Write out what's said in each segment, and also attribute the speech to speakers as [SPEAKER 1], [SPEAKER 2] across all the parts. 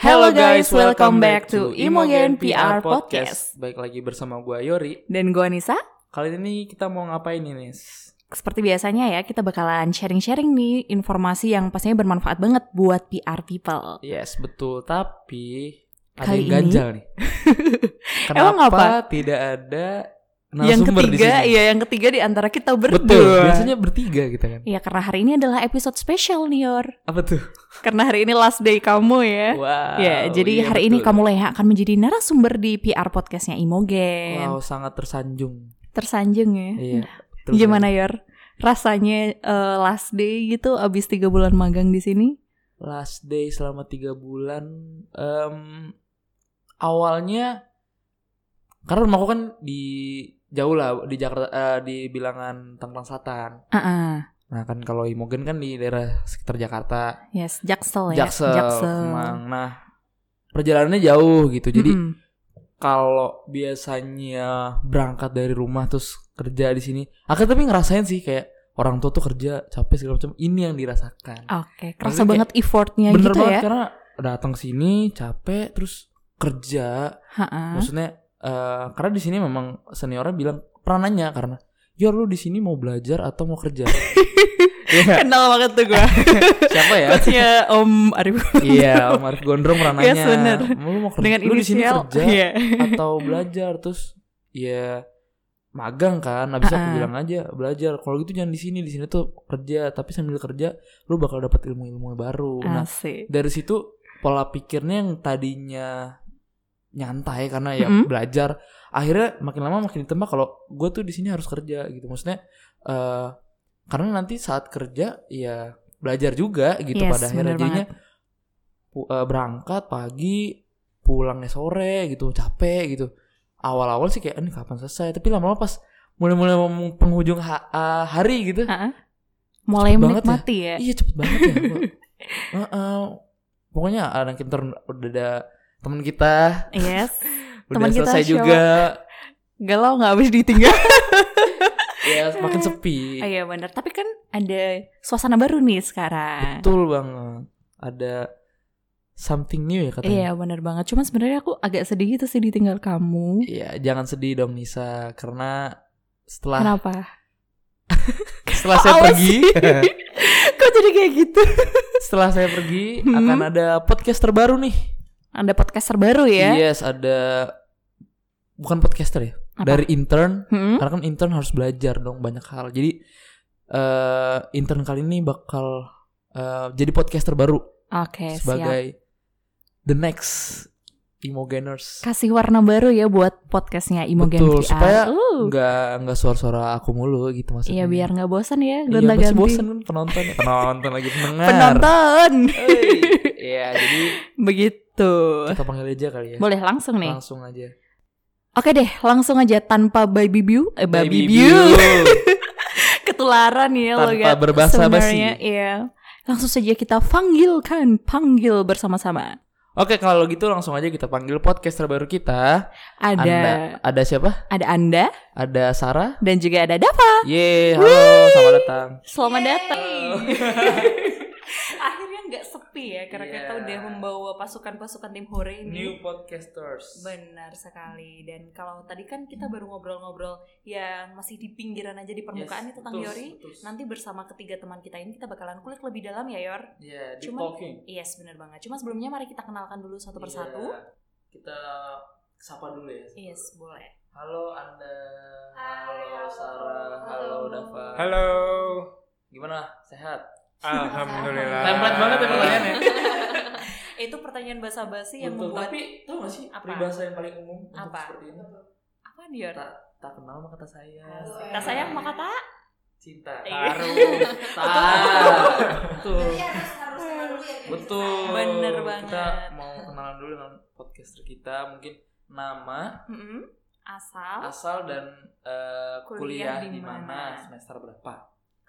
[SPEAKER 1] Halo guys, welcome back to Imogen PR Podcast.
[SPEAKER 2] Baik lagi bersama gua Yori.
[SPEAKER 1] Dan gue Anissa,
[SPEAKER 2] Kali ini kita mau ngapain ini, Nis?
[SPEAKER 1] seperti biasanya ya kita bakalan sharing-sharing nih informasi yang pastinya bermanfaat banget buat PR people.
[SPEAKER 2] Yes, betul. Tapi ada
[SPEAKER 1] Kali
[SPEAKER 2] yang ganjal nih. Kenapa
[SPEAKER 1] Emang apa?
[SPEAKER 2] tidak ada
[SPEAKER 1] yang
[SPEAKER 2] narasumber di
[SPEAKER 1] ketiga,
[SPEAKER 2] sini?
[SPEAKER 1] iya yang ketiga di antara kita berdua.
[SPEAKER 2] Betul. Biasanya bertiga kita kan.
[SPEAKER 1] Ya karena hari ini adalah episode spesial nih Yor.
[SPEAKER 2] Apa tuh?
[SPEAKER 1] Karena hari ini last day kamu ya.
[SPEAKER 2] Wow.
[SPEAKER 1] ya, jadi
[SPEAKER 2] Eh? iya,
[SPEAKER 1] hari ini
[SPEAKER 2] betul.
[SPEAKER 1] kamu Leha akan menjadi narasumber di PR podcastnya Imogen.
[SPEAKER 2] Wow, sangat tersanjung.
[SPEAKER 1] Tersanjung ya.
[SPEAKER 2] Iya. betul.
[SPEAKER 1] Gimana Yor? Rasanya eh, last day gitu abis tiga bulan magang di sini?
[SPEAKER 2] last day selama tiga bulan em, awalnya karena rumahku kan di jauh lah di Jakarta eh, di bilangan Tangerang Selatan
[SPEAKER 1] Ah, ah.
[SPEAKER 2] nah kan kalau Imogen kan di daerah sekitar Jakarta
[SPEAKER 1] Yes, Jaksel ya.
[SPEAKER 2] Jaksel, Kemang. nah perjalanannya jauh gitu jadi
[SPEAKER 1] Mm-mm.
[SPEAKER 2] kalau biasanya berangkat dari rumah terus kerja di sini akhirnya tapi ngerasain sih kayak orang tua tuh kerja capek segala macam ini yang dirasakan
[SPEAKER 1] Oke, kerasa
[SPEAKER 2] Maksudnya
[SPEAKER 1] banget effortnya
[SPEAKER 2] bener
[SPEAKER 1] gitu
[SPEAKER 2] banget
[SPEAKER 1] ya.
[SPEAKER 2] karena datang sini capek terus kerja
[SPEAKER 1] Ha-ha.
[SPEAKER 2] maksudnya eh, karena di sini memang seniornya bilang pernah nanya karena Yor lu di sini mau belajar atau mau kerja Iya,
[SPEAKER 1] Kenal banget tuh gue.
[SPEAKER 2] siapa ya
[SPEAKER 1] Coachnya Om Arif
[SPEAKER 2] iya Om Arif Gondrong pernah nanya
[SPEAKER 1] Yes, bener.
[SPEAKER 2] lu mau kerja
[SPEAKER 1] dengan
[SPEAKER 2] lu di sini
[SPEAKER 1] inisial.
[SPEAKER 2] kerja
[SPEAKER 1] Iya.
[SPEAKER 2] atau belajar terus ya magang kan habis itu aku
[SPEAKER 1] Ah.
[SPEAKER 2] bilang aja belajar kalau gitu jangan di sini di sini tuh kerja tapi sambil kerja lu bakal dapat ilmu-ilmu baru nah
[SPEAKER 1] Asik.
[SPEAKER 2] dari situ pola pikirnya yang tadinya nyantai karena ya
[SPEAKER 1] Mm-mm.
[SPEAKER 2] belajar akhirnya makin lama makin ditambah kalau gue tuh di sini harus kerja gitu maksudnya eh karena nanti saat kerja ya belajar juga gitu
[SPEAKER 1] Yes,
[SPEAKER 2] pada
[SPEAKER 1] bener
[SPEAKER 2] akhirnya jadinya pu- eh, berangkat pagi pulangnya sore gitu capek gitu awal-awal sih kayak ini kapan selesai tapi lama-lama pas mulai-mulai mau penghujung ha- eh, hari gitu
[SPEAKER 1] Ha-ha. Mulai
[SPEAKER 2] Cepet banget
[SPEAKER 1] menikmati ya.
[SPEAKER 2] Iya cepet banget ya. Gua- Heeh. pokoknya anak kita udah ada teman kita,
[SPEAKER 1] Yes.
[SPEAKER 2] udah
[SPEAKER 1] Teman kita
[SPEAKER 2] selesai
[SPEAKER 1] show.
[SPEAKER 2] juga.
[SPEAKER 1] Galau nggak habis ditinggal.
[SPEAKER 2] Ya makin sepi.
[SPEAKER 1] Ah, Iya bener. Tapi kan ada suasana baru nih sekarang.
[SPEAKER 2] Betul banget. Ada something new ya katanya.
[SPEAKER 1] Iya bener banget. Cuma sebenarnya aku agak sedih gitu sih ditinggal kamu.
[SPEAKER 2] Iya, jangan sedih dong Nisa karena setelah
[SPEAKER 1] Kenapa?
[SPEAKER 2] setelah saya
[SPEAKER 1] Awas
[SPEAKER 2] pergi,
[SPEAKER 1] sih. Kok jadi kayak gitu?
[SPEAKER 2] setelah saya pergi
[SPEAKER 1] Hmm.
[SPEAKER 2] akan ada podcast terbaru nih.
[SPEAKER 1] Ada podcaster baru ya?
[SPEAKER 2] Yes, ada bukan podcaster ya,
[SPEAKER 1] Apa?
[SPEAKER 2] dari intern
[SPEAKER 1] Hmm?
[SPEAKER 2] Karena kan intern harus belajar dong banyak hal. Jadi eh intern kali ini bakal eh, jadi podcaster baru
[SPEAKER 1] Oke, siap.
[SPEAKER 2] sebagai the next Imogeners.
[SPEAKER 1] Kasih warna baru ya buat podcastnya Imogen
[SPEAKER 2] Betul,
[SPEAKER 1] VR.
[SPEAKER 2] supaya
[SPEAKER 1] Uh.
[SPEAKER 2] Nggak Eh, nggak suara-suara aku mulu gitu
[SPEAKER 1] Iya
[SPEAKER 2] maksudnya.
[SPEAKER 1] biar nggak bosan ya
[SPEAKER 2] Iya,
[SPEAKER 1] gonta
[SPEAKER 2] pasti
[SPEAKER 1] ganti.
[SPEAKER 2] bosen kan penonton ya. penonton lagi pendengar.
[SPEAKER 1] Penonton.
[SPEAKER 2] Hei. Iya, jadi
[SPEAKER 1] Begitu.
[SPEAKER 2] kita panggil aja kali ya.
[SPEAKER 1] Boleh langsung nih.
[SPEAKER 2] Langsung aja.
[SPEAKER 1] Oke deh, langsung aja tanpa baby view, eh baby,
[SPEAKER 2] Baby
[SPEAKER 1] view.
[SPEAKER 2] Biu.
[SPEAKER 1] Ketularan ya
[SPEAKER 2] Tanpa
[SPEAKER 1] lo Gat.
[SPEAKER 2] berbahasa
[SPEAKER 1] Sebenarnya,
[SPEAKER 2] basi.
[SPEAKER 1] Iya. Langsung saja kita panggilkan, panggil bersama-sama.
[SPEAKER 2] Oke, kalau gitu langsung aja kita panggil podcaster baru kita.
[SPEAKER 1] Ada
[SPEAKER 2] Anda, ada siapa?
[SPEAKER 1] ada Anda
[SPEAKER 2] Ada Sarah.
[SPEAKER 1] dan juga ada Dava.
[SPEAKER 2] Ye, halo, selamat datang.
[SPEAKER 1] Selamat datang. Akhirnya nggak sepi ya karena kita
[SPEAKER 2] Iya.
[SPEAKER 1] udah membawa pasukan-pasukan tim Hore ini.
[SPEAKER 2] podcasters.
[SPEAKER 1] Benar sekali. Dan kalau tadi kan kita baru ngobrol-ngobrol yang masih di pinggiran aja di permukaan nih tentang Yori. Nanti bersama ketiga teman kita ini kita bakalan kulik lebih dalam ya Yor.
[SPEAKER 2] ya,
[SPEAKER 1] deep Cuman- Yes, benar banget. Cuma sebelumnya mari kita kenalkan dulu satu persatu.
[SPEAKER 2] Iya, Kita sapa dulu ya.
[SPEAKER 1] Yes, boleh.
[SPEAKER 2] Halo Anda.
[SPEAKER 3] Hai,
[SPEAKER 2] Halo
[SPEAKER 3] halo.
[SPEAKER 2] Sarah, halo
[SPEAKER 3] Halo.
[SPEAKER 2] Dava.
[SPEAKER 4] Halo,
[SPEAKER 2] Gimana? Sehat?
[SPEAKER 4] alhamdulillah.
[SPEAKER 2] Template banget ya pertanyaannya.
[SPEAKER 1] Itu pertanyaan basa-basi yang
[SPEAKER 2] Betul,
[SPEAKER 1] membuat
[SPEAKER 2] tapi tau gak sih
[SPEAKER 1] Apa?
[SPEAKER 2] peribahasa yang paling umum untuk
[SPEAKER 1] Apa?
[SPEAKER 2] seperti ini?
[SPEAKER 1] apa nih Yor?
[SPEAKER 2] Tak tak kenal maka tak sayang.
[SPEAKER 3] Asik.
[SPEAKER 1] Kita sayang maka tak.
[SPEAKER 2] cinta.
[SPEAKER 1] Iya.
[SPEAKER 2] Taruh. Betul.
[SPEAKER 3] Jadi harus harus kenal dulu ya, biar
[SPEAKER 2] Betul.
[SPEAKER 3] bisa.
[SPEAKER 1] Bener
[SPEAKER 2] Kita
[SPEAKER 1] banget.
[SPEAKER 2] mau kenalan dulu dengan podcaster kita, mungkin nama,
[SPEAKER 1] Mm-mm. Asal
[SPEAKER 2] asal dan eh,
[SPEAKER 1] Oh. Kuliah
[SPEAKER 2] kuliah,
[SPEAKER 1] di
[SPEAKER 2] di mana,
[SPEAKER 1] mana.
[SPEAKER 2] semester berapa.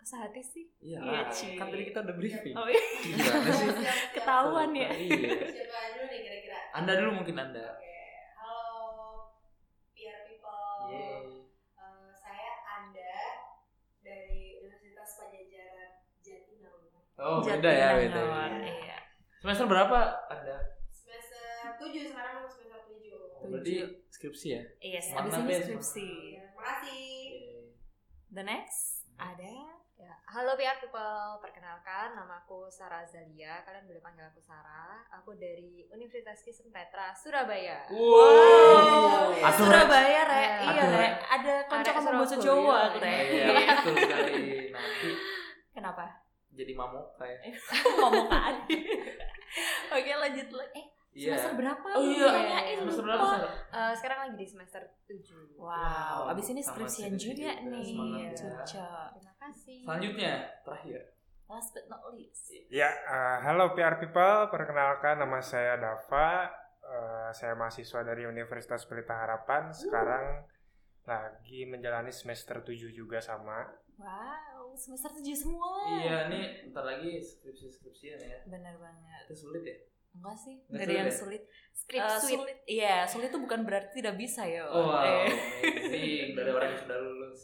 [SPEAKER 1] kesehati sih.
[SPEAKER 2] Iya,
[SPEAKER 1] Iya,
[SPEAKER 2] lah.
[SPEAKER 1] cuy.
[SPEAKER 2] kan tadi kita udah briefing.
[SPEAKER 1] Oh iya,
[SPEAKER 2] Gimana sih?
[SPEAKER 3] Siap, siap.
[SPEAKER 1] ketahuan ya.
[SPEAKER 2] Iya.
[SPEAKER 3] Siapa dulu nih kira-kira?
[SPEAKER 2] Anda dulu mungkin Anda.
[SPEAKER 3] Oke. Halo PR people.
[SPEAKER 2] Yeay.
[SPEAKER 3] Eh, saya Anda dari Universitas Pajajaran Jatinangor.
[SPEAKER 2] Oh,
[SPEAKER 1] Jati
[SPEAKER 2] beda ya,
[SPEAKER 1] Nangon.
[SPEAKER 2] beda.
[SPEAKER 3] ya.
[SPEAKER 1] Iya.
[SPEAKER 2] Semester berapa Anda? Oh,
[SPEAKER 3] Semester
[SPEAKER 2] berarti skripsi ya
[SPEAKER 1] Yes, Iya
[SPEAKER 2] Warna
[SPEAKER 1] abis ini
[SPEAKER 2] base,
[SPEAKER 1] skripsi.
[SPEAKER 3] Iya, makasih.
[SPEAKER 1] Iya. The next ada
[SPEAKER 4] Ya. Halo PR people, perkenalkan nama aku Sarah Zalia. Kalian boleh panggil aku Sarah. Aku dari Universitas Kristen Petra, Surabaya.
[SPEAKER 2] wow
[SPEAKER 3] Wow.
[SPEAKER 2] atur
[SPEAKER 1] Surabaya, Re.
[SPEAKER 4] Ya.
[SPEAKER 1] Iya,
[SPEAKER 2] Aduh,
[SPEAKER 1] Re.
[SPEAKER 2] Re.
[SPEAKER 1] Ada
[SPEAKER 4] Arek
[SPEAKER 1] koncokan bahasa
[SPEAKER 4] Surabaya.
[SPEAKER 1] Jawa, Re.
[SPEAKER 2] iya betul sekali nanti
[SPEAKER 1] Kenapa?
[SPEAKER 2] jadi ya. mamok kayak
[SPEAKER 1] Ngomong-ngomongan. Oke, lanjut lagi. Eh,
[SPEAKER 2] iya
[SPEAKER 1] semester berapa?
[SPEAKER 2] oh
[SPEAKER 1] lu
[SPEAKER 2] iya
[SPEAKER 1] Tanyain,
[SPEAKER 2] semester
[SPEAKER 1] lupa.
[SPEAKER 2] berapa Sarah?
[SPEAKER 4] Eh, sekarang lagi di semester 7.
[SPEAKER 1] Wow,
[SPEAKER 2] Wow,
[SPEAKER 1] abis ini
[SPEAKER 2] sama
[SPEAKER 1] skripsian
[SPEAKER 2] skripsi
[SPEAKER 1] juga
[SPEAKER 2] juga.
[SPEAKER 1] nih.
[SPEAKER 2] Semangat
[SPEAKER 1] Iya.
[SPEAKER 2] ya.
[SPEAKER 1] Cocok.
[SPEAKER 4] Terima kasih.
[SPEAKER 2] selanjutnya terakhir
[SPEAKER 1] Last but not least.
[SPEAKER 2] Iya.
[SPEAKER 5] Ya, eh, halo PR People, perkenalkan nama saya Dava, Eh, saya mahasiswa dari Universitas Pelita Harapan, sekarang lagi menjalani semester 7 juga sama.
[SPEAKER 1] Wow, semester 7 semua.
[SPEAKER 2] iya nih bentar lagi skripsi skripsian ya
[SPEAKER 1] Bener banget.
[SPEAKER 2] itu sulit ya
[SPEAKER 1] Enggak sih,
[SPEAKER 2] Nggak
[SPEAKER 1] nggak ada yang
[SPEAKER 2] sulit
[SPEAKER 1] sulit.
[SPEAKER 4] Script
[SPEAKER 1] Eh,
[SPEAKER 4] suite.
[SPEAKER 1] sulit. Iya, sulit itu bukan berarti tidak bisa ya.
[SPEAKER 2] Oh, wow
[SPEAKER 1] Eh,
[SPEAKER 2] amazing dari Iya. orang yang sudah lulus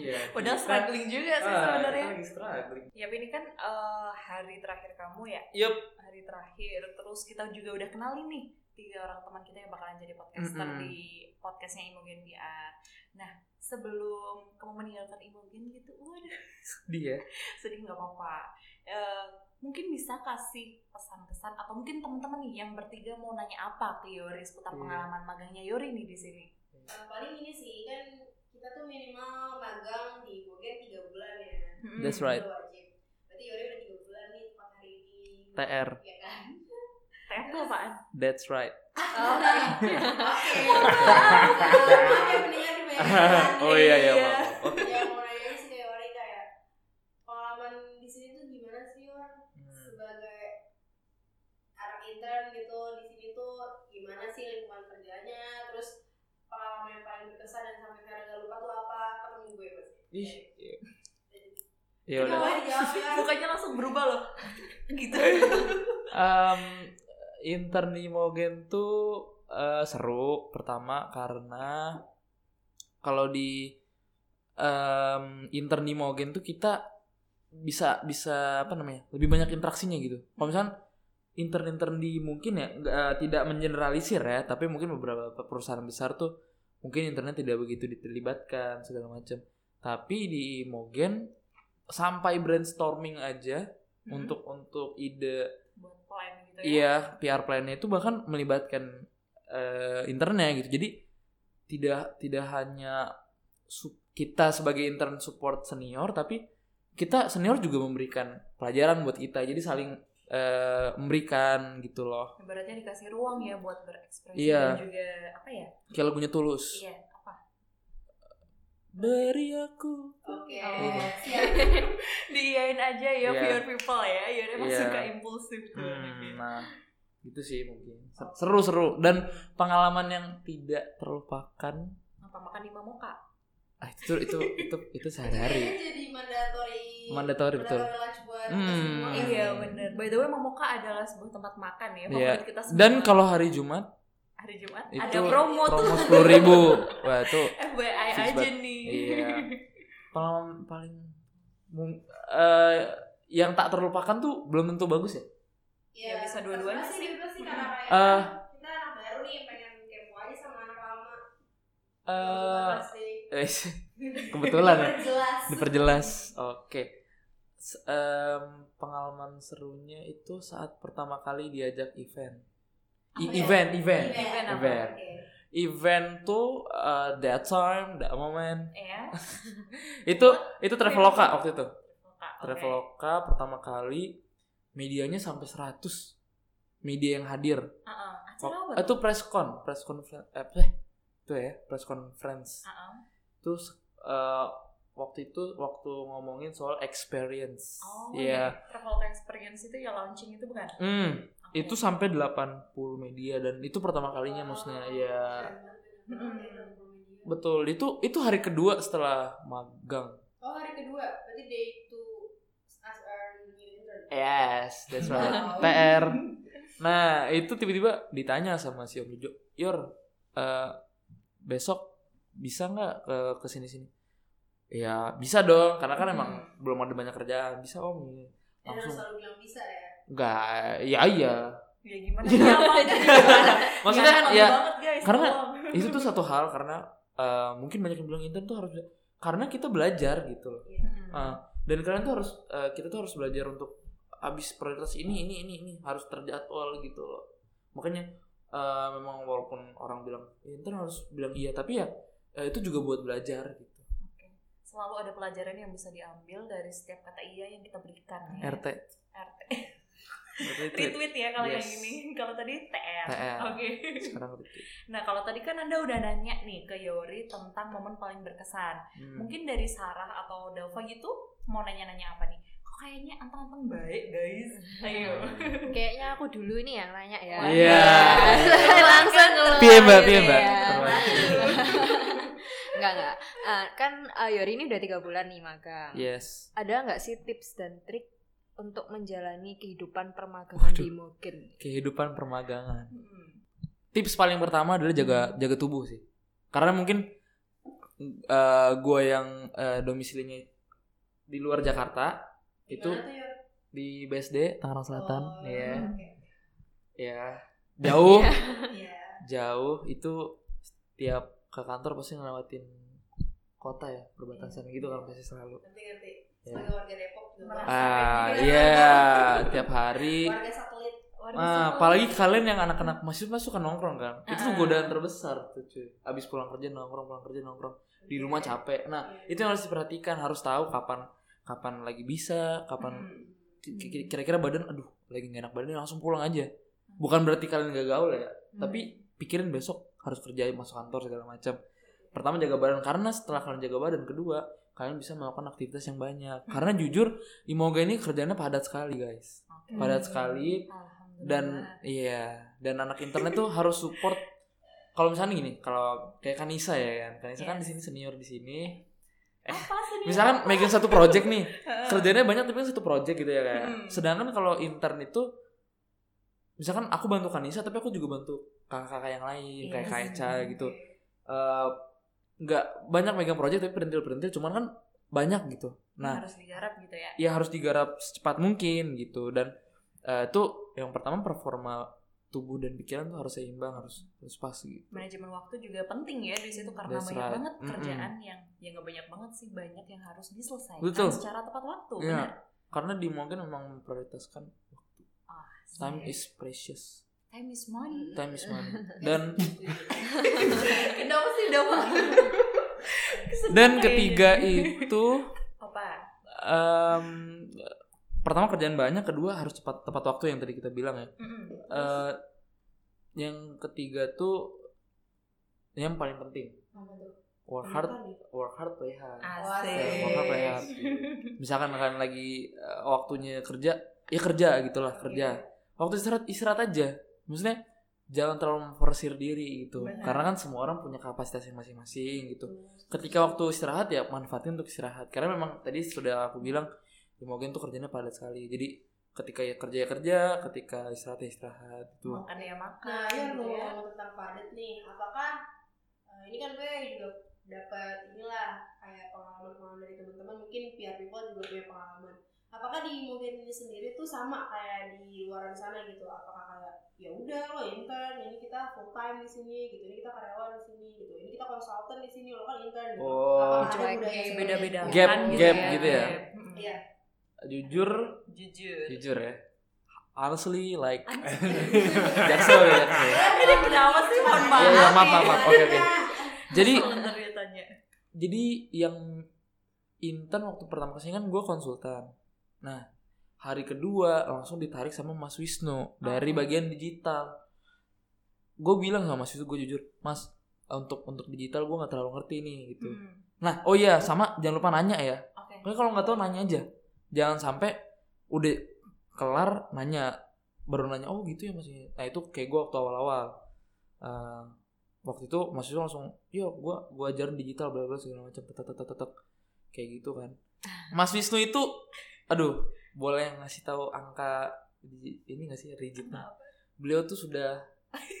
[SPEAKER 2] iya
[SPEAKER 1] Udah
[SPEAKER 2] kita-
[SPEAKER 1] struggling juga sih
[SPEAKER 2] Ah,
[SPEAKER 1] sebenarnya.
[SPEAKER 2] kita lagi struggling
[SPEAKER 1] Ya, ini kan eh, hari terakhir kamu ya.
[SPEAKER 2] yup
[SPEAKER 1] Hari terakhir. Terus kita juga udah kenalin nih tiga orang teman kita yang bakalan jadi podcaster
[SPEAKER 2] Mm-mm.
[SPEAKER 1] di podcastnya Imogen VR. Nah, sebelum kamu meninggalkan Imogen gitu, waduh
[SPEAKER 2] dia
[SPEAKER 1] sedih nggak apa-apa. Eh, mungkin bisa kasih pesan kesan atau mungkin teman-teman nih yang bertiga mau nanya apa ke Yori seputar
[SPEAKER 2] Iya.
[SPEAKER 1] pengalaman magangnya Yori nih di sini.
[SPEAKER 3] Eh, paling ini sih kan kita tuh minimal magang di Bogen 3 bulan ya.
[SPEAKER 2] That's right.
[SPEAKER 3] Itu wajib. Berarti Yori udah 3 bulan nih tepat hari ini.
[SPEAKER 2] tr
[SPEAKER 3] Ya kan?
[SPEAKER 1] TF tuh apaan?
[SPEAKER 2] that's right
[SPEAKER 4] Oh,
[SPEAKER 1] iya.
[SPEAKER 3] Oke. Maaf ya, mendingan dibayangkan.
[SPEAKER 2] oh iya iya
[SPEAKER 1] Iya.
[SPEAKER 2] maaf maaf. oke
[SPEAKER 3] Ya, mau nanya sih kayak Yori kayak pengalaman di sini tuh gimana sih, Yor? sebagai anak intern gitu di sini tuh gimana sih lingkungan kerjanya terus pengalaman yang paling berkesan dan sampai sekarang gak lupa tuh apa ketemu gue pasti
[SPEAKER 2] ih iya. ya
[SPEAKER 1] Iya.
[SPEAKER 2] udah
[SPEAKER 3] Boleh dijawab ya
[SPEAKER 1] Bukannya langsung berubah loh. gitu.
[SPEAKER 2] um, intern di Mogen tuh eh, seru pertama karena kalau di em, intern di Mogen tuh kita bisa bisa apa namanya lebih banyak interaksinya gitu. Kalau misalnya intern-intern di mungkin ya nggak- eh, tidak mengeneralisir ya, tapi mungkin beberapa perusahaan besar tuh mungkin internnya tidak begitu dilibatkan segala macam. Tapi di Mogen sampai brainstorming aja
[SPEAKER 1] Hmm.
[SPEAKER 2] untuk untuk ide
[SPEAKER 1] buat plan gitu ya.
[SPEAKER 2] Iya, PR plan-nya itu bahkan melibatkan eh, internnya gitu. Jadi tidak tidak hanya su- kita sebagai intern support senior, tapi kita senior juga memberikan pelajaran buat kita. Jadi saling eh, memberikan gitu loh.
[SPEAKER 1] Ibaratnya dikasih ruang ya buat berekspresi dan
[SPEAKER 2] Iya.
[SPEAKER 1] juga apa ya?
[SPEAKER 2] Kayak lagunya tulus.
[SPEAKER 1] Iya, apa?
[SPEAKER 2] Beri aku.
[SPEAKER 3] oke
[SPEAKER 2] Iya.
[SPEAKER 1] Oh.
[SPEAKER 3] siap
[SPEAKER 1] Diiyain aja ya
[SPEAKER 2] Iya.
[SPEAKER 1] pure people ya. Yori emang
[SPEAKER 2] Iya.
[SPEAKER 1] suka impulsif tuh.
[SPEAKER 2] Hmm, nah, gitu sih mungkin. Ser- Seru-seru dan pengalaman yang tidak terlupakan.
[SPEAKER 1] Apa makan di Mamoka?
[SPEAKER 2] Ah, itu itu itu itu sehari-hari.
[SPEAKER 3] Ini jadi mandatory
[SPEAKER 2] Mandatori, betul.
[SPEAKER 3] mandatory lunch buat
[SPEAKER 2] Hmm.
[SPEAKER 3] kita semua
[SPEAKER 2] Hmm.
[SPEAKER 1] Iya bener. By the way Mamoka adalah sebuah tempat makan ya.
[SPEAKER 2] Iya.
[SPEAKER 1] Favorit kita semua.
[SPEAKER 2] Dan kalau hari Jumat
[SPEAKER 1] hari Jumat
[SPEAKER 2] Itu
[SPEAKER 1] ada promo,
[SPEAKER 2] promo
[SPEAKER 1] tuh.
[SPEAKER 2] sepuluh ribu wah itu
[SPEAKER 1] FYI
[SPEAKER 2] Fix
[SPEAKER 1] aja
[SPEAKER 2] banget.
[SPEAKER 1] nih.
[SPEAKER 2] iya pengalaman paling mung- eh, yang tak terlupakan tuh belum tentu bagus ya
[SPEAKER 1] Ya, bisa dua-duanya
[SPEAKER 3] terus
[SPEAKER 1] sih.
[SPEAKER 3] terus Iya. sih karena kayak
[SPEAKER 2] Eh.
[SPEAKER 3] kita anak baru nih pengen kepo aja sama anak lama
[SPEAKER 2] Eh,
[SPEAKER 3] pasti
[SPEAKER 2] eh, kebetulan ya
[SPEAKER 3] jelas
[SPEAKER 2] diperjelas oke S- em, pengalaman serunya itu saat pertama kali diajak event I-
[SPEAKER 3] Apa ya?
[SPEAKER 2] event event
[SPEAKER 1] Event apa?
[SPEAKER 2] Event. event tuh eh, that time that moment
[SPEAKER 1] Iya.
[SPEAKER 2] itu itu traveloka waktu itu
[SPEAKER 1] Mamoka, oke.
[SPEAKER 2] Traveloka pertama kali medianya sampai 100 media yang hadir.
[SPEAKER 1] Uh-uh. Acara apa?
[SPEAKER 2] eh, itu press con, press conference eh, apa sih? itu ya, press conference.
[SPEAKER 1] Uh-uh.
[SPEAKER 2] Terus eh, waktu itu waktu ngomongin soal experience.
[SPEAKER 1] Oh,
[SPEAKER 2] Iya.
[SPEAKER 1] iya. Traveloka experience itu ya launching itu bukan?
[SPEAKER 2] Hmm,
[SPEAKER 1] Oke.
[SPEAKER 2] itu sampai 80 media dan itu pertama kalinya maksudnya ya. Betul, itu itu hari kedua setelah magang.
[SPEAKER 3] Oh hari kedua, berarti day two as a new intern. Oh,
[SPEAKER 2] Yes, that's right.
[SPEAKER 3] Wow.
[SPEAKER 2] PR. Nah, itu tiba-tiba ditanya sama si Om Jojo, "Yor, eh, besok bisa nggak ke ke sini sini?" Ya, bisa dong, karena kan emang belum ada banyak kerjaan. Bisa Om.
[SPEAKER 3] Dan harus
[SPEAKER 2] Langsung
[SPEAKER 3] selalu bilang bisa ya.
[SPEAKER 2] enggak, ya iya.
[SPEAKER 1] ya gimana nyaman gimana
[SPEAKER 2] Maksudnya kan
[SPEAKER 1] Nyaman
[SPEAKER 2] ya
[SPEAKER 1] banget guys
[SPEAKER 2] karena-
[SPEAKER 1] tolong.
[SPEAKER 2] itu tuh satu hal karena eh, mungkin banyak yang bilang intern tuh harus karena kita belajar gitu loh.
[SPEAKER 1] Mm-mm.
[SPEAKER 2] Eh, dan kalian tuh harus eh, kita tuh harus belajar untuk habis prioritas ini ini ini ini harus terjadwal gitu loh. Makanya eh, memang walaupun orang bilang intern harus bilang iya tapi ya eh, itu juga buat belajar gitu.
[SPEAKER 1] selalu ada pelajaran yang bisa diambil dari setiap kata iya yang kita berikan ya.
[SPEAKER 2] RT.
[SPEAKER 1] RT.
[SPEAKER 2] RT itu ya,
[SPEAKER 1] retweet ya kalau
[SPEAKER 2] Yes.
[SPEAKER 1] yang ini kalau tadi TR,
[SPEAKER 2] TR.
[SPEAKER 1] oke
[SPEAKER 2] sekarang RT.
[SPEAKER 1] nah kalau tadi kan anda udah nanya nih ke Yori tentang momen paling berkesan
[SPEAKER 2] Hmm.
[SPEAKER 1] mungkin dari Sarah atau Dava gitu mau nanya-nanya apa nih kok kayaknya anteng-anteng baik guys ayo
[SPEAKER 5] Hmm.
[SPEAKER 4] Kayaknya aku dulu nih yang nanya ya.
[SPEAKER 2] Iya.
[SPEAKER 4] Langsung keluar.
[SPEAKER 2] Piye, Mbak?
[SPEAKER 1] ya,
[SPEAKER 2] Piye, Mbak?
[SPEAKER 4] Iya.
[SPEAKER 2] Terus.
[SPEAKER 4] Enggak, enggak. Eh, kan eh, Yori ini udah tiga bulan nih magang.
[SPEAKER 2] Iya. Yes.
[SPEAKER 4] Ada nggak sih tips dan trik untuk menjalani kehidupan permagangan
[SPEAKER 2] Waduh.
[SPEAKER 4] di Mogen?
[SPEAKER 2] Kehidupan permagangan.
[SPEAKER 1] Hmm.
[SPEAKER 2] tips paling pertama adalah jaga jaga tubuh sih karena mungkin eh gue yang eh, domisilinya di luar Jakarta itu
[SPEAKER 3] Gimana tuh, Yor?
[SPEAKER 2] di BSD Tangerang Selatan
[SPEAKER 3] Oh,
[SPEAKER 2] ya
[SPEAKER 3] ya, oke.
[SPEAKER 2] ya jauh
[SPEAKER 3] Iya.
[SPEAKER 2] jauh itu setiap ke kantor pasti ngelewatin kota ya perbatasan gitu kan pasti selalu
[SPEAKER 3] Ngerti ngerti.
[SPEAKER 2] Ya.
[SPEAKER 3] Sebagai warga Depok juga
[SPEAKER 1] Merasa.
[SPEAKER 2] ah
[SPEAKER 3] Sampai
[SPEAKER 2] iya
[SPEAKER 3] juga.
[SPEAKER 2] tiap hari
[SPEAKER 3] Warga satelit.
[SPEAKER 1] Warna
[SPEAKER 2] Ah,
[SPEAKER 1] seru.
[SPEAKER 2] apalagi kalian yang anak-anak mahasiswa suka nongkrong kan itu tuh
[SPEAKER 1] Ah.
[SPEAKER 2] godaan terbesar tuh cuy abis pulang kerja nongkrong pulang kerja nongkrong di
[SPEAKER 3] Iya.
[SPEAKER 2] rumah capek nah itu yang harus diperhatikan harus tahu kapan kapan lagi bisa kapan
[SPEAKER 1] Hmm.
[SPEAKER 2] ki- ki- kira-kira badan aduh lagi gak enak badan langsung pulang aja bukan berarti kalian gak gaul ya
[SPEAKER 1] Hmm.
[SPEAKER 2] tapi pikirin besok harus kerja masuk kantor segala macam pertama jaga badan karena setelah kalian jaga badan kedua kalian bisa melakukan aktivitas yang banyak karena jujur imoga ini kerjanya padat sekali guys
[SPEAKER 1] Hmm, Oke.
[SPEAKER 2] padat sekali
[SPEAKER 1] Alhamdulillah.
[SPEAKER 2] dan iya dan anak internet tuh harus support kalau misalnya gini kalau kayak Kanisa ya kan Kanisa kan di sini senior di sini
[SPEAKER 1] apa sih nih?
[SPEAKER 2] misalkan megang satu project nih kerjanya banyak tapi kan satu project gitu ya kayak
[SPEAKER 1] Hmm.
[SPEAKER 2] sedangkan kalau intern itu misalkan aku bantu Kanisa tapi aku juga bantu kakak-kakak yang lain kayak
[SPEAKER 1] Yes.
[SPEAKER 2] Kaeca gitu Eh, nggak banyak megang project tapi perintil-perintil cuman kan banyak gitu nah
[SPEAKER 1] harus digarap gitu ya
[SPEAKER 2] ya harus digarap secepat mungkin gitu dan eh, itu yang pertama performa tubuh dan pikiran tuh harus seimbang harus harus pas gitu
[SPEAKER 1] manajemen waktu juga penting ya di situ karena
[SPEAKER 2] That's
[SPEAKER 1] banyak
[SPEAKER 2] right.
[SPEAKER 1] banget
[SPEAKER 2] Mm-mm.
[SPEAKER 1] kerjaan yang yang nggak banyak banget sih banyak yang harus diselesaikan
[SPEAKER 2] Betul.
[SPEAKER 1] secara tepat waktu
[SPEAKER 2] Iya.
[SPEAKER 1] Oh, benar
[SPEAKER 2] karena di mungkin memang memprioritaskan
[SPEAKER 1] Ah,
[SPEAKER 2] time
[SPEAKER 1] iya.
[SPEAKER 2] is precious
[SPEAKER 1] time is money
[SPEAKER 2] time is money dan
[SPEAKER 3] Kenapa sih Depok?
[SPEAKER 1] Iya,
[SPEAKER 2] dan ketiga itu
[SPEAKER 1] ya. apa
[SPEAKER 2] em, pertama kerjaan banyak kedua harus cepat tepat waktu yang tadi kita bilang ya
[SPEAKER 1] Mm-mm.
[SPEAKER 2] Eh, yang ketiga tuh yang paling penting
[SPEAKER 3] Apa tuh?
[SPEAKER 2] work hard work hard play hard
[SPEAKER 1] Ah, asik
[SPEAKER 2] Ya, work hard
[SPEAKER 1] iya,
[SPEAKER 2] play hard misalkan kalian lagi eh, waktunya kerja ya kerja gitulah kerja waktu istirahat istirahat aja maksudnya jangan terlalu memforsir diri gitu
[SPEAKER 1] Benar.
[SPEAKER 2] karena kan semua orang punya kapasitasnya masing-masing gitu ketika waktu istirahat ya manfaatin untuk istirahat karena memang tadi sudah aku bilang di Mogen tuh kerjanya padat sekali jadi ketika ya kerja ya kerja ketika istirahat ya istirahat gitu
[SPEAKER 1] makan ya makan
[SPEAKER 3] Nah, ya
[SPEAKER 1] gitu ya.
[SPEAKER 3] ngomong tentang padat nih, apakah eh, ini kan gue juga dapat inilah kayak pengalaman-pengalaman dari teman-teman mungkin PR people juga punya pengalaman. Apakah di mungkin ini sendiri tuh sama kayak di luaran sana gitu? Apakah kayak ya udah lo intern, ini kita full time di sini gitu, ini kita karyawan di sini gitu, ini kita konsultan di sini lo kan intern gitu.
[SPEAKER 2] Oh.
[SPEAKER 3] Apakah ada
[SPEAKER 4] Cuek Kan
[SPEAKER 3] budaya
[SPEAKER 4] nih,
[SPEAKER 3] seperti
[SPEAKER 1] beda-beda
[SPEAKER 3] itu?
[SPEAKER 2] Gap, gap
[SPEAKER 1] ya.
[SPEAKER 2] gitu ya.
[SPEAKER 1] Mm-mm.
[SPEAKER 3] Iya.
[SPEAKER 2] jujur
[SPEAKER 1] jujur
[SPEAKER 2] jujur ya honestly like
[SPEAKER 1] Anjing.
[SPEAKER 2] Jaksel ya, Jaksel.
[SPEAKER 1] ini kenapa sih mohon maaf
[SPEAKER 2] Iya, iya,
[SPEAKER 3] ya.
[SPEAKER 2] maaf, maaf, maaf. Oke, oke. jadi
[SPEAKER 1] Kesel ntar dia tanya.
[SPEAKER 2] jadi yang intern waktu pertama kesini kan gue konsultan nah hari kedua langsung ditarik sama Mas Wisnu dari bagian digital gue bilang sama Mas Wisnu gue jujur Mas untuk untuk digital gue nggak terlalu ngerti nih gitu
[SPEAKER 1] Hmm,
[SPEAKER 2] nah oh iya sama jangan lupa nanya ya
[SPEAKER 1] oke
[SPEAKER 2] Pokoknya kalau nggak tahu nanya aja jangan sampai udah kelar nanya baru nanya oh gitu ya Mas nah itu kayak gue waktu awal-awal Eh, waktu itu Mas Yusuf langsung yo gue gua ajarin digital bla bla segala macam tek, tek, tek, tek, tek. kayak gitu kan Mas Wisnu itu aduh boleh ngasih tahu angka di- ini nggak sih rigidnya beliau tuh sudah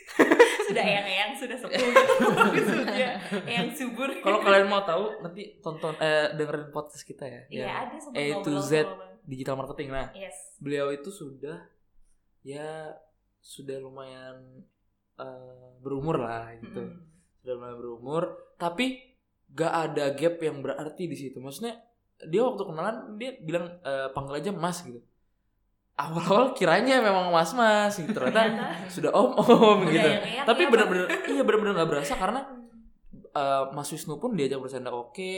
[SPEAKER 1] sudah yang yang sudah sepuh gitu maksudnya yang subur gitu.
[SPEAKER 2] kalau kalian mau tahu nanti tonton eh dengerin podcast kita ya
[SPEAKER 1] Iya
[SPEAKER 2] yang
[SPEAKER 1] ada sempat
[SPEAKER 2] A to
[SPEAKER 1] ngobrol
[SPEAKER 2] Z.
[SPEAKER 1] sama Bang.
[SPEAKER 2] digital marketing nah
[SPEAKER 1] Yes.
[SPEAKER 2] beliau itu sudah ya sudah lumayan eh, berumur lah gitu
[SPEAKER 1] Mm-mm.
[SPEAKER 2] sudah mulai berumur tapi gak ada gap yang berarti di situ maksudnya dia waktu kenalan dia bilang "Eh, panggil aja mas gitu awal-awal kiranya memang mas mas gitu ternyata sudah om om
[SPEAKER 1] Udah
[SPEAKER 2] gitu
[SPEAKER 1] yang Mm, eyak
[SPEAKER 2] tapi
[SPEAKER 1] ya,
[SPEAKER 2] bener-bener iya bener-bener gak berasa karena eh, Mas Wisnu pun diajak bercanda oke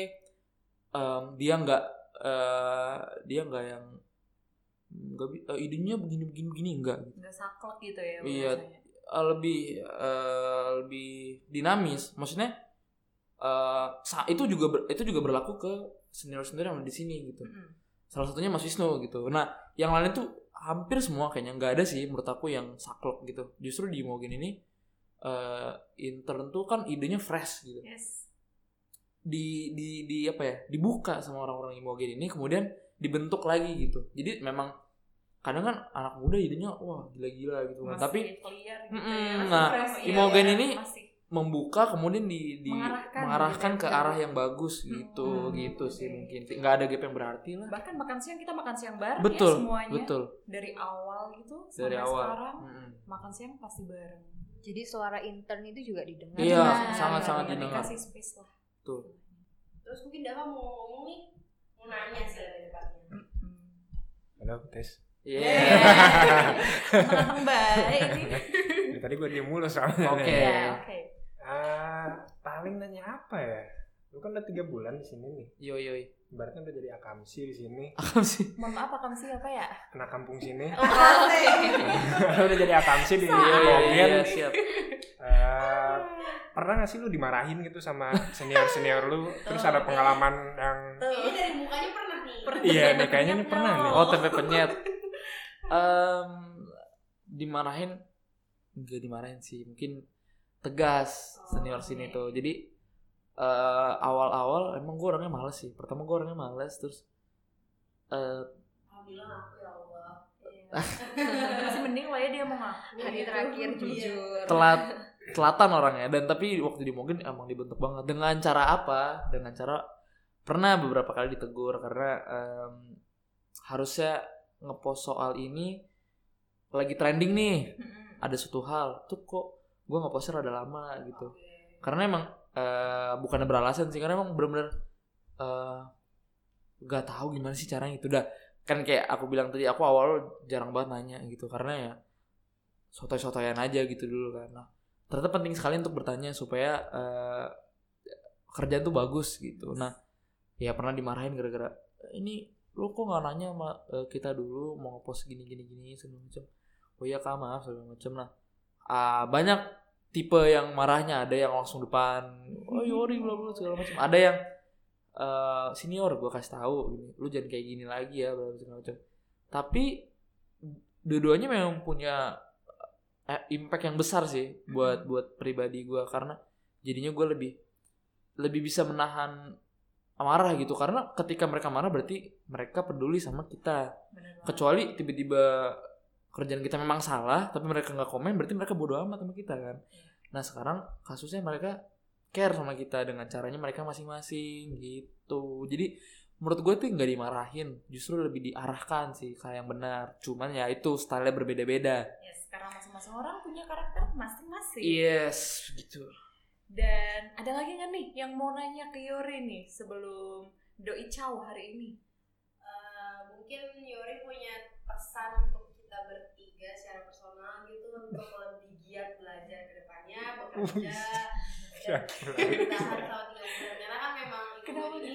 [SPEAKER 2] Em, dia nggak eh, dia nggak yang nggak bi- eh, idenya begini begini begini enggak
[SPEAKER 1] Pak. nggak saklek gitu ya
[SPEAKER 2] Iya.
[SPEAKER 1] bahasanya.
[SPEAKER 2] eh, lebih eh, lebih dinamis. Maksudnya eh, sa- itu juga ber- itu juga berlaku ke senior-senior yang di sini gitu.
[SPEAKER 1] Mm-mm.
[SPEAKER 2] Salah satunya Mas Wisnu gitu. Nah, yang lain tuh hampir semua kayaknya nggak ada sih menurut aku yang saklek gitu. Justru di Mogen ini eh, intern tuh kan idenya fresh gitu.
[SPEAKER 1] yes
[SPEAKER 2] Di di di apa ya? Dibuka sama orang-orang Imogen ini kemudian dibentuk lagi gitu. Jadi memang kadang kan anak muda idenya wah gila-gila gitu. kan.
[SPEAKER 1] Masih
[SPEAKER 2] Tapi
[SPEAKER 1] clear gitu ya.
[SPEAKER 2] Mm-mm,
[SPEAKER 1] Masih
[SPEAKER 2] nah,
[SPEAKER 1] fresh, iya,
[SPEAKER 2] Imogen
[SPEAKER 1] iya,
[SPEAKER 2] ini
[SPEAKER 1] masih.
[SPEAKER 2] membuka kemudian di, di
[SPEAKER 1] Mengarahkan
[SPEAKER 2] mengarahkan,
[SPEAKER 1] gitu
[SPEAKER 2] ke
[SPEAKER 1] ya.
[SPEAKER 2] arah yang bagus gitu
[SPEAKER 1] Hmm,
[SPEAKER 2] gitu sih
[SPEAKER 1] oke.
[SPEAKER 2] mungkin nggak ada gap yang berarti lah
[SPEAKER 1] bahkan makan siang kita makan siang bareng ya
[SPEAKER 2] betul
[SPEAKER 1] semuanya
[SPEAKER 2] betul Hmm.
[SPEAKER 1] dari awal gitu
[SPEAKER 2] dari
[SPEAKER 1] sampai
[SPEAKER 2] awal
[SPEAKER 1] sekarang
[SPEAKER 2] Mm-mm.
[SPEAKER 1] makan siang pasti bareng
[SPEAKER 4] Jadi suara intern itu juga didengar.
[SPEAKER 2] Iya,
[SPEAKER 4] Nah,
[SPEAKER 2] sangat-sangat
[SPEAKER 4] iya.
[SPEAKER 2] didengar.
[SPEAKER 1] kasih space lah
[SPEAKER 2] Betul.
[SPEAKER 3] Terus mungkin Dava mau ngomong nih, mau nanya sih dari depannya.
[SPEAKER 1] Mm-mm.
[SPEAKER 5] Halo, tes.
[SPEAKER 2] Iya.
[SPEAKER 1] Menantang baik ini.
[SPEAKER 5] Dari tadi gue diem mulu soalnya.
[SPEAKER 2] Oke.
[SPEAKER 5] nih.
[SPEAKER 1] Iya, oke.
[SPEAKER 5] Ah, paling nanya apa ya? Lu kan udah tiga bulan di sini nih.
[SPEAKER 2] yo yo yo.
[SPEAKER 5] Ibaratnya udah jadi akamsi di sini,
[SPEAKER 2] apa sih
[SPEAKER 1] Mohon maaf akan siapa ya?
[SPEAKER 5] anak kampung sini.
[SPEAKER 4] Oh,
[SPEAKER 1] Asik.
[SPEAKER 5] udah jadi akamsi di
[SPEAKER 2] Iya, iya, iya,
[SPEAKER 5] Mogen.
[SPEAKER 2] siap
[SPEAKER 5] Eh, pernah gak sih lu dimarahin gitu sama senior-senior lu? Terus ada pengalaman yang
[SPEAKER 3] Ini dari mukanya pernah nih.
[SPEAKER 1] Pernah.
[SPEAKER 5] Iya, nih kayaknya nih pernah nih.
[SPEAKER 2] oh tempe penyet Em, dimarahin nggak dimarahin sih mungkin tegas senior
[SPEAKER 5] Oh,
[SPEAKER 2] sini tuh
[SPEAKER 5] iya.
[SPEAKER 2] jadi eh, awal-awal emang gue orangnya males sih pertama gue orangnya males terus eh,
[SPEAKER 3] Alhamdulillah aku ya Allah.
[SPEAKER 2] Iya.
[SPEAKER 1] Masih mending lah ya dia mau ngaku.
[SPEAKER 4] Hari
[SPEAKER 1] gitu.
[SPEAKER 4] terakhir
[SPEAKER 1] Iya.
[SPEAKER 4] jujur.
[SPEAKER 2] telat telatan orangnya dan tapi waktu di Mogen emang dibentuk banget dengan cara apa dengan cara pernah beberapa kali ditegur karena em, harusnya ngepost soal ini lagi trending nih
[SPEAKER 1] Mm-mm.
[SPEAKER 2] ada suatu hal tuh kok gue ngepostnya rada lama gitu
[SPEAKER 3] Oke.
[SPEAKER 2] karena emang eh bukannya beralasan sih karena emang bener-bener eh, gak tahu gimana sih caranya itu udah kan kayak aku bilang tadi aku awal jarang banget nanya gitu karena ya sotoy-sotoyan aja gitu dulu kan nah ternyata penting sekali untuk bertanya supaya eh, kerjaan tuh bagus gitu nah ya pernah dimarahin gara-gara ini lu kok nggak nanya sama eh, kita dulu mau ngepost gini gini gini segala macam oh iya kak maaf segala macam nah ah, banyak tipe yang marahnya ada yang langsung depan oh yori bla bla segala macam ada yang eh, senior gue kasih tahu gini lu jangan kayak gini lagi ya bla bla segala macam tapi dua-duanya memang punya eh, impact yang besar sih buat buat pribadi gue karena jadinya gue lebih lebih bisa menahan marah gitu karena ketika mereka marah berarti mereka peduli sama kita
[SPEAKER 1] Bener banget.
[SPEAKER 2] kecuali tiba-tiba kerjaan kita memang salah tapi mereka nggak komen berarti mereka bodoh amat sama kita kan nah sekarang kasusnya mereka care sama kita dengan caranya mereka masing-masing gitu jadi menurut gue tuh nggak dimarahin justru lebih diarahkan sih kayak yang benar cuman ya itu stylenya berbeda-beda
[SPEAKER 1] Yes, karena masing-masing orang punya karakter masing-masing.
[SPEAKER 2] Iya. yes gitu
[SPEAKER 1] Dan ada lagi nggak nih yang mau nanya ke Yori nih sebelum doi caw hari ini?
[SPEAKER 3] Eh, mungkin Yori punya pesan untuk kita bertiga secara personal gitu untuk lebih giat belajar ke depannya, bekerja, dan bertahan selama tiga bulan. Karena kan memang
[SPEAKER 1] Kenapa
[SPEAKER 3] ibu ini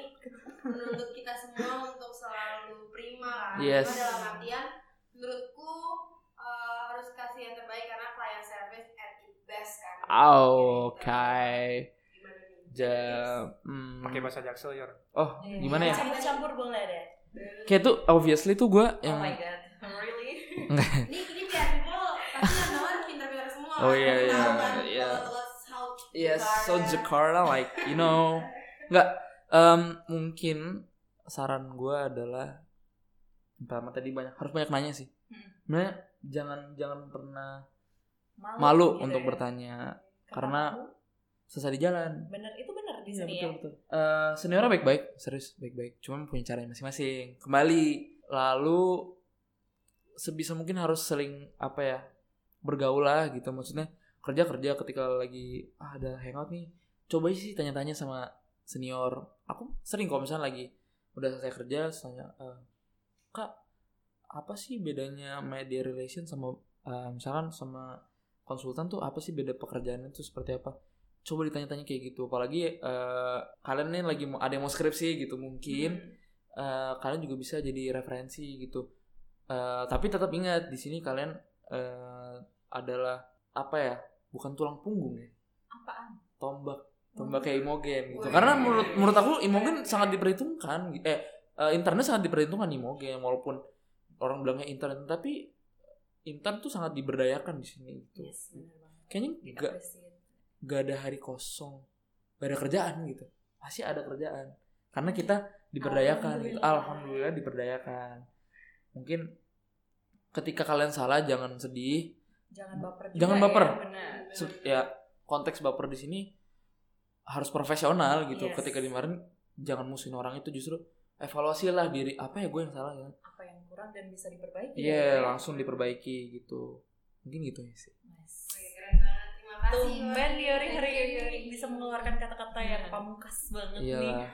[SPEAKER 3] menuntut kita semua untuk selalu prima kan.
[SPEAKER 2] Yes.
[SPEAKER 3] Cuma dalam artian menurutku eh, harus kasih yang terbaik karena client service at its best kan.
[SPEAKER 2] Ah, oke
[SPEAKER 3] Gimana nih?
[SPEAKER 2] ja hmm,
[SPEAKER 5] pakai bahasa jaksel, Yor?
[SPEAKER 2] oh gimana
[SPEAKER 1] Iya,
[SPEAKER 2] ya
[SPEAKER 1] Campur-campur boleh deh.
[SPEAKER 2] kayak tuh obviously tuh gue
[SPEAKER 1] Oh my
[SPEAKER 2] yang
[SPEAKER 1] god, really?
[SPEAKER 3] Ini ini biar people pasti yang nawarin pinter-pinter semua.
[SPEAKER 2] Oh, iya,
[SPEAKER 3] Tahu
[SPEAKER 2] iya,
[SPEAKER 3] kan,
[SPEAKER 2] iya.
[SPEAKER 3] kalau how to
[SPEAKER 2] Yes, Iya, so
[SPEAKER 3] garden.
[SPEAKER 2] Jakarta like you know, nggak em, mungkin saran gue adalah pertama tadi banyak harus banyak nanya sih.
[SPEAKER 1] Hmm.
[SPEAKER 2] Sebenarnya jangan jangan pernah malu
[SPEAKER 1] gitu
[SPEAKER 2] untuk
[SPEAKER 1] ya.
[SPEAKER 2] bertanya karena-
[SPEAKER 1] kamu
[SPEAKER 2] selesai di jalan.
[SPEAKER 1] bener itu bener di
[SPEAKER 2] Iya
[SPEAKER 1] sini
[SPEAKER 2] betul
[SPEAKER 1] ya.
[SPEAKER 2] betul. Eh, seniornya baik-baik, serius baik-baik. Cuman punya caranya masing-masing. Kembali lalu sebisa mungkin harus sering apa ya bergaul lah gitu maksudnya kerja kerja ketika lagi ah, ada hangout nih coba sih tanya-tanya sama senior aku sering kalau misalnya lagi udah selesai kerja terus tanya "Eh, kak apa sih bedanya media relation sama eh, misalkan sama konsultan tuh apa sih beda pekerjaannya tuh seperti apa coba ditanya-tanya kayak gitu apalagi eh, kalian nih lagi mau ada yang mau skripsi gitu mungkin
[SPEAKER 3] Nah,
[SPEAKER 2] eh, kalian juga bisa jadi referensi gitu. Eh, tapi tetap ingat di sini kalian eh, adalah apa ya? Bukan tulang punggung ya,
[SPEAKER 1] apaan
[SPEAKER 2] tombak, tombak kayak imogen gitu.
[SPEAKER 3] Wih.
[SPEAKER 2] Karena menurut menurut aku imogen sangat diperhitungkan. gi- Eh, eh, internet sangat diperhitungkan imogen walaupun orang bilangnya internet tapi intern tuh sangat diberdayakan di sini gitu.
[SPEAKER 1] yes benar banget
[SPEAKER 2] Kayaknya nggak
[SPEAKER 1] Diapresiasi.
[SPEAKER 2] gak ada hari kosong gak ada kerjaan gitu pasti ada kerjaan karena kita diberdayakan gitu.
[SPEAKER 1] Alhamdulillah.
[SPEAKER 2] alhamdulillah diberdayakan mungkin ketika kalian salah jangan sedih
[SPEAKER 1] jangan baper juga
[SPEAKER 2] Jangan
[SPEAKER 3] iya,
[SPEAKER 1] ya,
[SPEAKER 2] baper.
[SPEAKER 1] benar
[SPEAKER 2] Se- ya konteks baper di sini harus profesional gitu
[SPEAKER 1] Yes.
[SPEAKER 2] ketika dimarin jangan musuhin orang itu justru evaluasilah diri apa ya gue yang salah ya
[SPEAKER 1] apa yang kurang dan bisa diperbaiki
[SPEAKER 2] iya
[SPEAKER 1] ya.
[SPEAKER 2] langsung diperbaiki gitu mungkin gitu ya sih
[SPEAKER 1] Nice.
[SPEAKER 3] Oke, keren banget. Terima kasih.
[SPEAKER 1] Tumben
[SPEAKER 3] Yori.
[SPEAKER 1] Yori hari
[SPEAKER 4] Thank you, Iya. Yori.
[SPEAKER 1] ini bisa mengeluarkan kata-kata yang pamungkas banget nih.
[SPEAKER 2] Iyalah.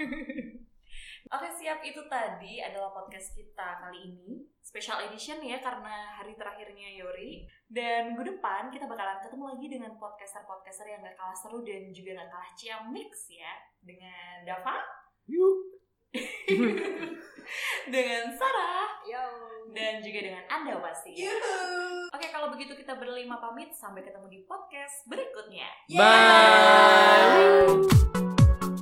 [SPEAKER 1] Oke siap itu tadi adalah podcast kita kali ini special edition ya karena hari terakhirnya Yori dan minggu depan kita bakalan ketemu lagi dengan podcaster-podcaster yang gak kalah seru dan juga gak kalah ciamix ya dengan Dava, dengan Sarah
[SPEAKER 4] Yo.
[SPEAKER 1] dan juga dengan Anda pasti. ya.
[SPEAKER 3] Yuhu.
[SPEAKER 1] Oke kalau begitu kita berlima pamit sampai ketemu di podcast berikutnya.
[SPEAKER 2] bye